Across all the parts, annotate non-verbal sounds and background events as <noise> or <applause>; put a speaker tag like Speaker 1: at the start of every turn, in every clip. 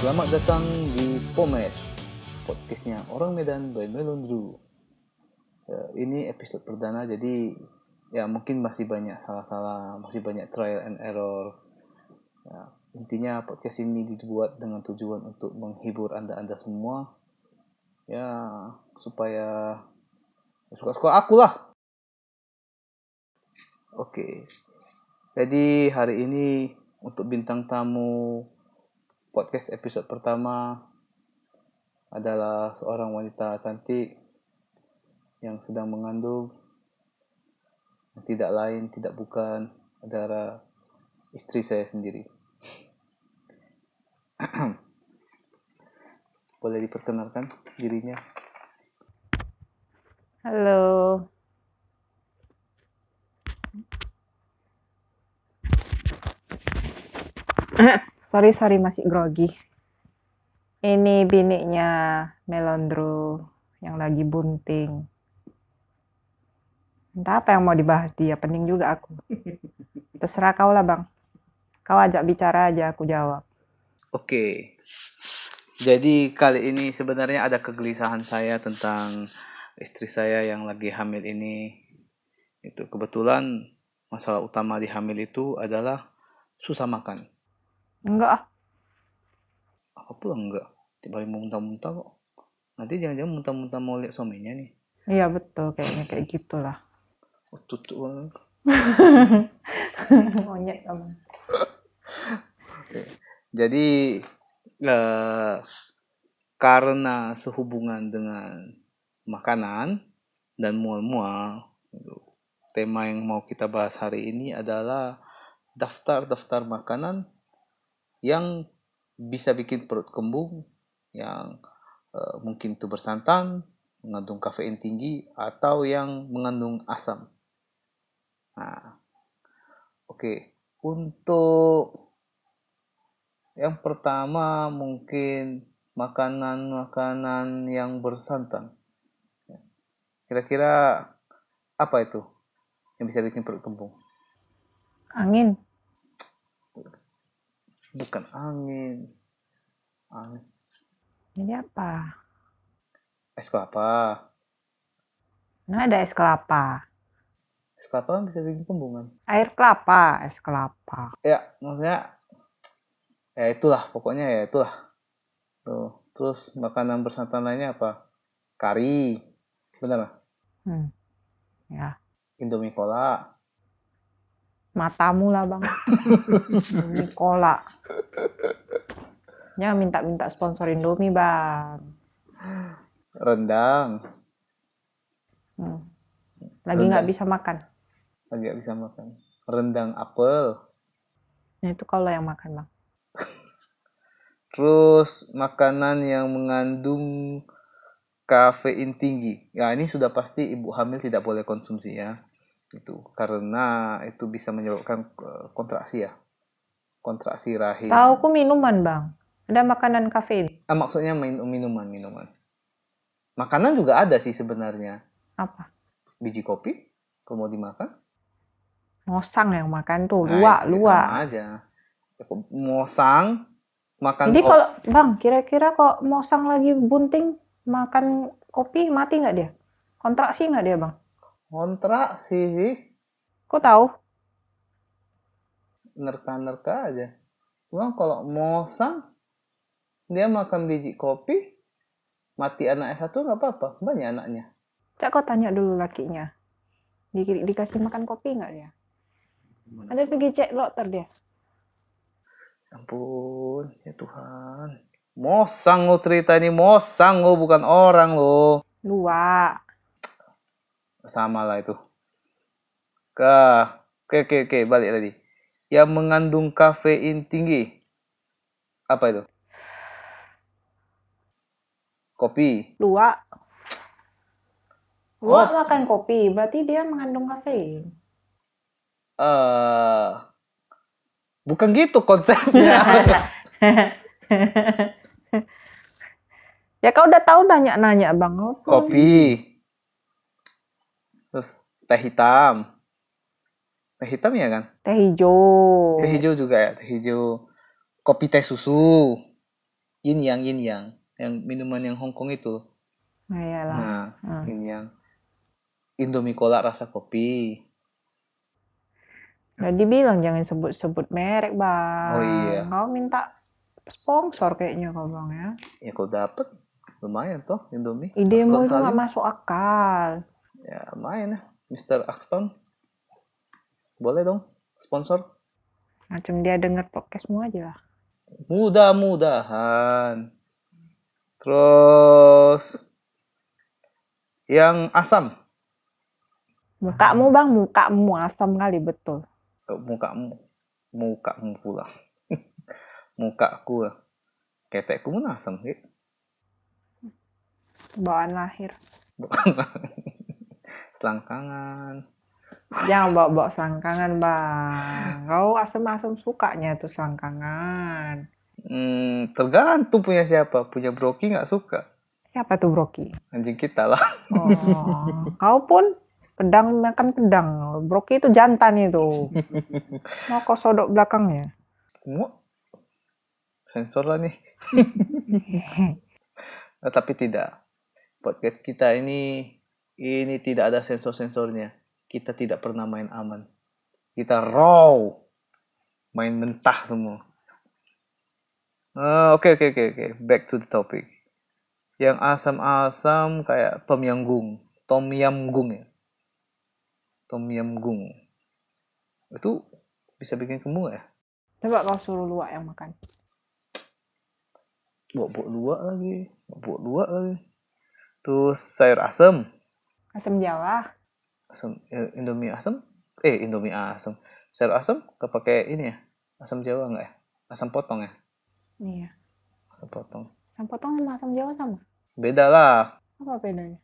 Speaker 1: Selamat datang di Pomet, podcastnya orang Medan by Melon Drew. Eh, ini episode perdana, jadi ya mungkin masih banyak salah-salah, masih banyak trial and error. Ya, intinya podcast ini dibuat dengan tujuan untuk menghibur anda-anda semua, ya supaya ya, suka-suka aku lah. Oke, jadi hari ini untuk bintang tamu podcast episode pertama adalah seorang wanita cantik yang sedang mengandung tidak lain tidak bukan adalah istri saya sendiri <clears throat> boleh diperkenalkan dirinya
Speaker 2: Halo. sorry, sorry masih grogi. Ini biniknya Melondro yang lagi bunting. Entah apa yang mau dibahas dia, pening juga aku. Terserah kau lah bang. Kau ajak bicara aja, aku jawab.
Speaker 1: Oke. Jadi kali ini sebenarnya ada kegelisahan saya tentang istri saya yang lagi hamil ini. Itu kebetulan masalah utama di hamil itu adalah susah makan.
Speaker 2: Enggak ah,
Speaker 1: Apa pula enggak? Tiba tiba muntah-muntah kok. Nanti jangan-jangan muntah-muntah mau lihat suaminya nih.
Speaker 2: iya betul kayaknya kayak gitulah.
Speaker 1: Oh, tutup orang.
Speaker 2: Monyet kamu.
Speaker 1: Jadi eh, karena sehubungan dengan makanan dan mual-mual, gitu, tema yang mau kita bahas hari ini adalah daftar-daftar makanan yang bisa bikin perut kembung, yang eh, mungkin itu bersantan, mengandung kafein tinggi, atau yang mengandung asam. Nah, oke, untuk yang pertama mungkin makanan-makanan yang bersantan. Ya. Kira-kira apa itu yang bisa bikin perut kembung?
Speaker 2: Angin.
Speaker 1: Bukan angin, angin.
Speaker 2: Jadi apa?
Speaker 1: es kelapa.
Speaker 2: Nah ada es kelapa.
Speaker 1: Es kelapa kan bisa bikin kembungan.
Speaker 2: Air kelapa, es kelapa.
Speaker 1: Ya, maksudnya ya itulah pokoknya ya itulah. Tuh. Terus makanan bersantan lainnya apa? Kari. Benar nggak?
Speaker 2: Hmm. Ya,
Speaker 1: Indomie cola.
Speaker 2: matamu lah
Speaker 1: <laughs>
Speaker 2: bang. Indomie cola. Ya minta-minta sponsor Indomie bang.
Speaker 1: Rendang.
Speaker 2: Hmm. Lagi nggak bisa makan.
Speaker 1: Lagi nggak bisa makan. Rendang apel.
Speaker 2: Nah itu kalau yang makan bang.
Speaker 1: Terus makanan yang mengandung kafein tinggi. Ya ini sudah pasti ibu hamil tidak boleh konsumsi ya. Itu karena itu bisa menyebabkan eh, kontraksi ya. Kontraksi rahim.
Speaker 2: Tahu ku minuman bang. Ada makanan kafein.
Speaker 1: Ah, maksudnya min- minuman, minuman. Makanan juga ada sih sebenarnya.
Speaker 2: Apa?
Speaker 1: Biji kopi kalau mau dimakan.
Speaker 2: Ngosang yang makan
Speaker 1: Nah,
Speaker 2: tuh. Luak,
Speaker 1: itu
Speaker 2: luak.
Speaker 1: Sama aja. Mosang makan
Speaker 2: Jadi
Speaker 1: kopi.
Speaker 2: kalau bang kira-kira kok mosang lagi bunting makan kopi mati nggak dia? Kontraksi nggak dia bang?
Speaker 1: kontraksi sih.
Speaker 2: Kok tahu?
Speaker 1: nerka-nerka aja. Cuma kalau mosang, dia makan biji kopi, mati anaknya satu nggak apa-apa, banyak anaknya.
Speaker 2: Cak kau tanya dulu lakinya. Di, dikasih makan kopi nggak dia? Ada pergi cek dokter dia.
Speaker 1: Ampun, ya Tuhan. Mosang lo cerita ini, mosang lo bukan orang lo.
Speaker 2: Luak.
Speaker 1: Sama lah itu. Ke, oke, oke, oke, balik tadi. Yang mengandung kafein tinggi. Apa itu? Kopi.
Speaker 2: Luak. Luak
Speaker 1: Kopi.
Speaker 2: makan kopi, berarti dia mengandung kafein.
Speaker 1: eh bukan gitu konsepnya.
Speaker 2: ya kau udah tahu nanya-nanya bang. Kau tuh-
Speaker 1: Kopi. Terus teh hitam. Teh hitam ya kan?
Speaker 2: Teh hijau.
Speaker 1: Teh hijau juga ya, teh hijau. Kopi teh susu. yin yang yin yang yang minuman yang Hong Kong itu
Speaker 2: Nah, iyalah.
Speaker 1: nah
Speaker 2: Ah.
Speaker 1: yin yang Indomie cola rasa kopi
Speaker 2: Nah, dibilang jangan sebut-sebut merek, Bang.
Speaker 1: Oh, iya.
Speaker 2: Kau minta sponsor kayaknya kau, Bang ya.
Speaker 1: ya kalau dapet lumayan toh Indomie Axton
Speaker 2: Idemu itu nggak
Speaker 1: Salim.
Speaker 2: masuk akal.
Speaker 1: ya lumayan ya Mr. Axton boleh dong sponsor
Speaker 2: Macam dia denger podcastmu aja lah.
Speaker 1: mudah-mudahan terus yang asam
Speaker 2: Mukamu, Bang, mukamu asam kali, betul.
Speaker 1: Eh, mukamu mukamu pula <laughs> mukaku ah. ketekku pun asam Ki.
Speaker 2: Bawaan lahir.
Speaker 1: selangkangan
Speaker 2: Jangan bawa-bawa selangkangan, Bang. Kau asem-asem sukanya tuh selangkangan.
Speaker 1: Hmm, tergantung punya siapa punya broki nggak suka
Speaker 2: Siapa tuh Broki?
Speaker 1: anjing kita lah
Speaker 2: Oh, kau pun pedang makan pedang. Broki itu jantan itu. Mau kau sodok belakangnya. <laughs>
Speaker 1: Mu- sensor lah nih Eh, tapi tidak podcast kita ini ini tidak ada sensor-sensornya kita tidak pernah main aman kita raw main mentah semua Eh, oke oke oke oke back to the topic yang asam-asam kayak tom yam gung tom yam gung ya tom yam gung itu bisa bikin kemu ya
Speaker 2: Coba kau suruh luak yang makan.
Speaker 1: bobok luak lagi bobok luak lagi terus sayur asam
Speaker 2: Asam Jawa.
Speaker 1: asam eh, Indomie asam eh Indomie asam sayur asam gak pakai ini ya asam jawa nggak ya asam potong ya
Speaker 2: Iya.
Speaker 1: asam potong
Speaker 2: Asam potong sama asam Jawa sama.
Speaker 1: beda lah
Speaker 2: Apa bedanya?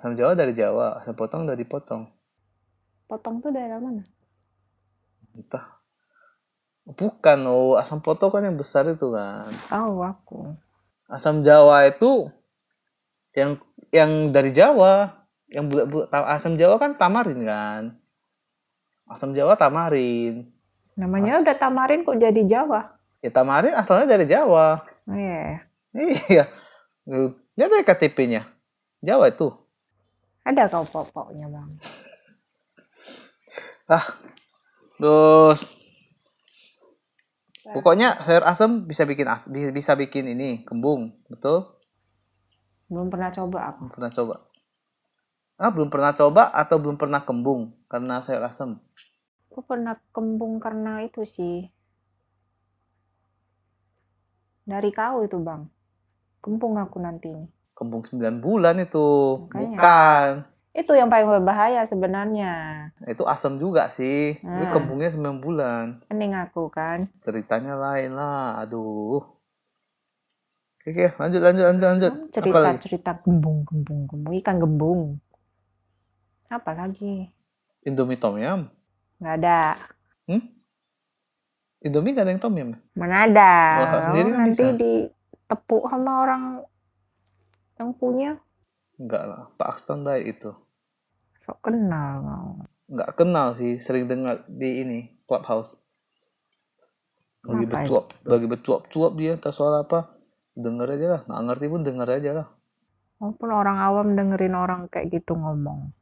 Speaker 1: asam jawa dari jawa asam potong dari potong
Speaker 2: Potong tuh daerah mana?
Speaker 1: entah bukan oh asam potong kan yang besar itu kan
Speaker 2: Tahu aku.
Speaker 1: asam jawa itu yang yang dari jawa yang bulat-bulat Ta- asam jawa kan tamarin kan asam jawa tamarin
Speaker 2: Namanya udah tamarin kok jadi Jawa.
Speaker 1: ya tamarin asalnya dari jawa
Speaker 2: Oh, Iya.
Speaker 1: Iya. ya Lihat deh KTP-nya. Jawa itu.
Speaker 2: Ada kau popoknya bang.
Speaker 1: Terus pokoknya sayur asem bisa bikin as- bi- bisa bikin ini kembung, betul?
Speaker 2: Belum pernah coba aku.
Speaker 1: Belum pernah coba. Ah, belum pernah coba atau belum pernah kembung karena sayur asem.
Speaker 2: Aku pernah kembung karena itu sih. Dari kau itu bang. Kembung aku nanti ini.
Speaker 1: Kembung 9 bulan itu.
Speaker 2: Makanya.
Speaker 1: Bukan. Nah,
Speaker 2: Itu yang paling berbahaya sebenarnya.
Speaker 1: Itu asem juga sih. Itu
Speaker 2: Hmm.
Speaker 1: kembungnya 9 bulan.
Speaker 2: Mending aku kan.
Speaker 1: Ceritanya lain lah. Aduh. Oke, oke, lanjut lanjut lanjut lanjut.
Speaker 2: Kan Hmm,
Speaker 1: Apa lagi?
Speaker 2: Cerita-cerita gembung, gembung, gembung. Ikan gembung. Apa lagi?
Speaker 1: Indomie Tom Yum.
Speaker 2: Nggak ada.
Speaker 1: Indomie gak ada yang Tom Yum. ya?
Speaker 2: Mana ada.
Speaker 1: Masak sendiri
Speaker 2: Kamu
Speaker 1: kan
Speaker 2: nanti
Speaker 1: bisa.
Speaker 2: ditepuk sama orang yang punya.
Speaker 1: Enggak lah, Pak Axton baik itu.
Speaker 2: Sok kenal kau.
Speaker 1: Enggak kenal sih, sering dengar di ini, Clubhouse. Bagi
Speaker 2: Ngapain?
Speaker 1: becuap, bagi becuap-cuap dia, entah soal apa. Denger aja lah, nggak ngerti pun denger aja lah.
Speaker 2: Walaupun orang awam dengerin orang kayak gitu ngomong.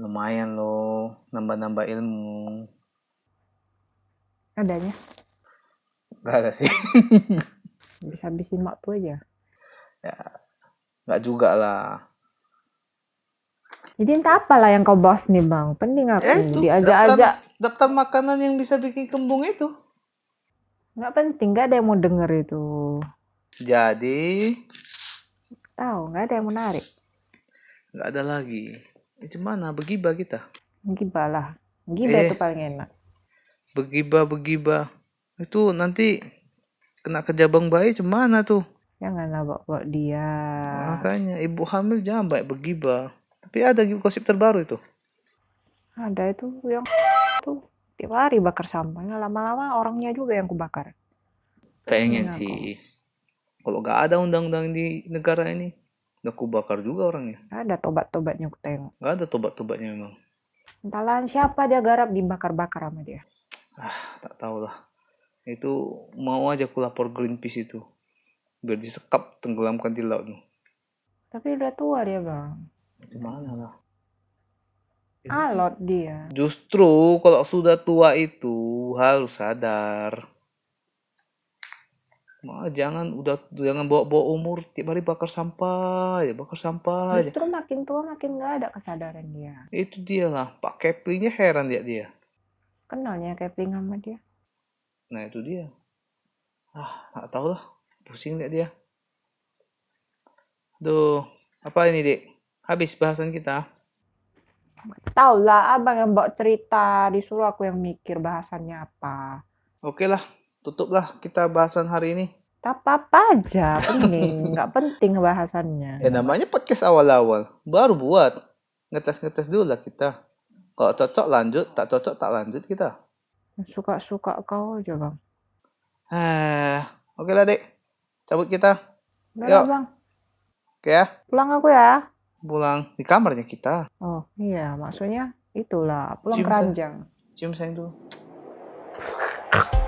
Speaker 1: Lumayan loh, nambah-nambah ilmu.
Speaker 2: Adanya.
Speaker 1: Enggak ada sih, <laughs>
Speaker 2: Bisa habisin waktu aja.
Speaker 1: enggak juga lah.
Speaker 2: Jadi entah apalah yang kau bahas nih bang. Penting aku
Speaker 1: Ya itu,
Speaker 2: diajak-ajak.
Speaker 1: Daftar makanan yang bisa bikin kembung itu.
Speaker 2: Nggak penting. Nggak ada yang mau denger itu.
Speaker 1: Jadi,
Speaker 2: Tahu nggak ada yang menarik.
Speaker 1: enggak ada lagi. Itu mana begibah kita?
Speaker 2: Gibah lah. Gibah
Speaker 1: Eh.
Speaker 2: itu paling enak.
Speaker 1: Begibah, begibah. Itu nanti kena ke jabang bayi cemana tuh?
Speaker 2: Janganlah bawa-bawa dia.
Speaker 1: Makanya ibu hamil jangan baik begibah. Tapi ada gosip terbaru itu.
Speaker 2: Ada itu yang tuh tiap hari bakar sampahnya lama-lama orangnya juga yang kubakar.
Speaker 1: Pengen
Speaker 2: Iya,
Speaker 1: sih. Kalau gak ada undang-undang di negara ini, udah kubakar juga orangnya.
Speaker 2: Ada tobat-tobatnya ku tengok.
Speaker 1: Gak ada tobat-tobatnya memang.
Speaker 2: Entahlah siapa dia garap dibakar-bakar sama dia.
Speaker 1: Tak tahu lah. Itu mau aja aku lapor Greenpeace itu. biar disekap tenggelamkan di laut
Speaker 2: Tapi udah tua dia bang.
Speaker 1: gimana lah Iya.
Speaker 2: Alot dia.
Speaker 1: justru kalau sudah tua itu harus sadar Mah, jangan udah jangan bawa-bawa umur tiap hari bakar sampah ya bakar sampah aja
Speaker 2: Justru makin tua makin nggak ada kesadaran dia.
Speaker 1: itu dia lah pak Keplingnya heran ya dia
Speaker 2: Kenalnya Kepling sama dia.
Speaker 1: Nah itu dia. Ah, nggak tahu lah. Pusing lihat dia. Aduh, apa ini, Dek? Habis bahasan kita.
Speaker 2: Tau lah abang yang bawa cerita disuruh aku yang mikir bahasannya apa.
Speaker 1: Oke lah, tutuplah kita bahasan hari ini.
Speaker 2: Tak apa-apa aja
Speaker 1: <laughs>
Speaker 2: pening, nggak penting bahasannya.
Speaker 1: Ya namanya podcast awal-awal, baru buat. Ngetes-ngetes dulu lah kita. Kalau cocok lanjut, tak cocok tak lanjut kita.
Speaker 2: Suka-suka kau aja bang.
Speaker 1: Ah, oke lah, Dek. Cabut kita.
Speaker 2: Udah
Speaker 1: Yuk.
Speaker 2: lah, bang,
Speaker 1: Oke ya,
Speaker 2: pulang aku ya.
Speaker 1: pulang di kamarnya kita.
Speaker 2: Oh iya maksudnya itulah pulang
Speaker 1: Cium, Sa.
Speaker 2: keranjang.
Speaker 1: Cium sayang dulu.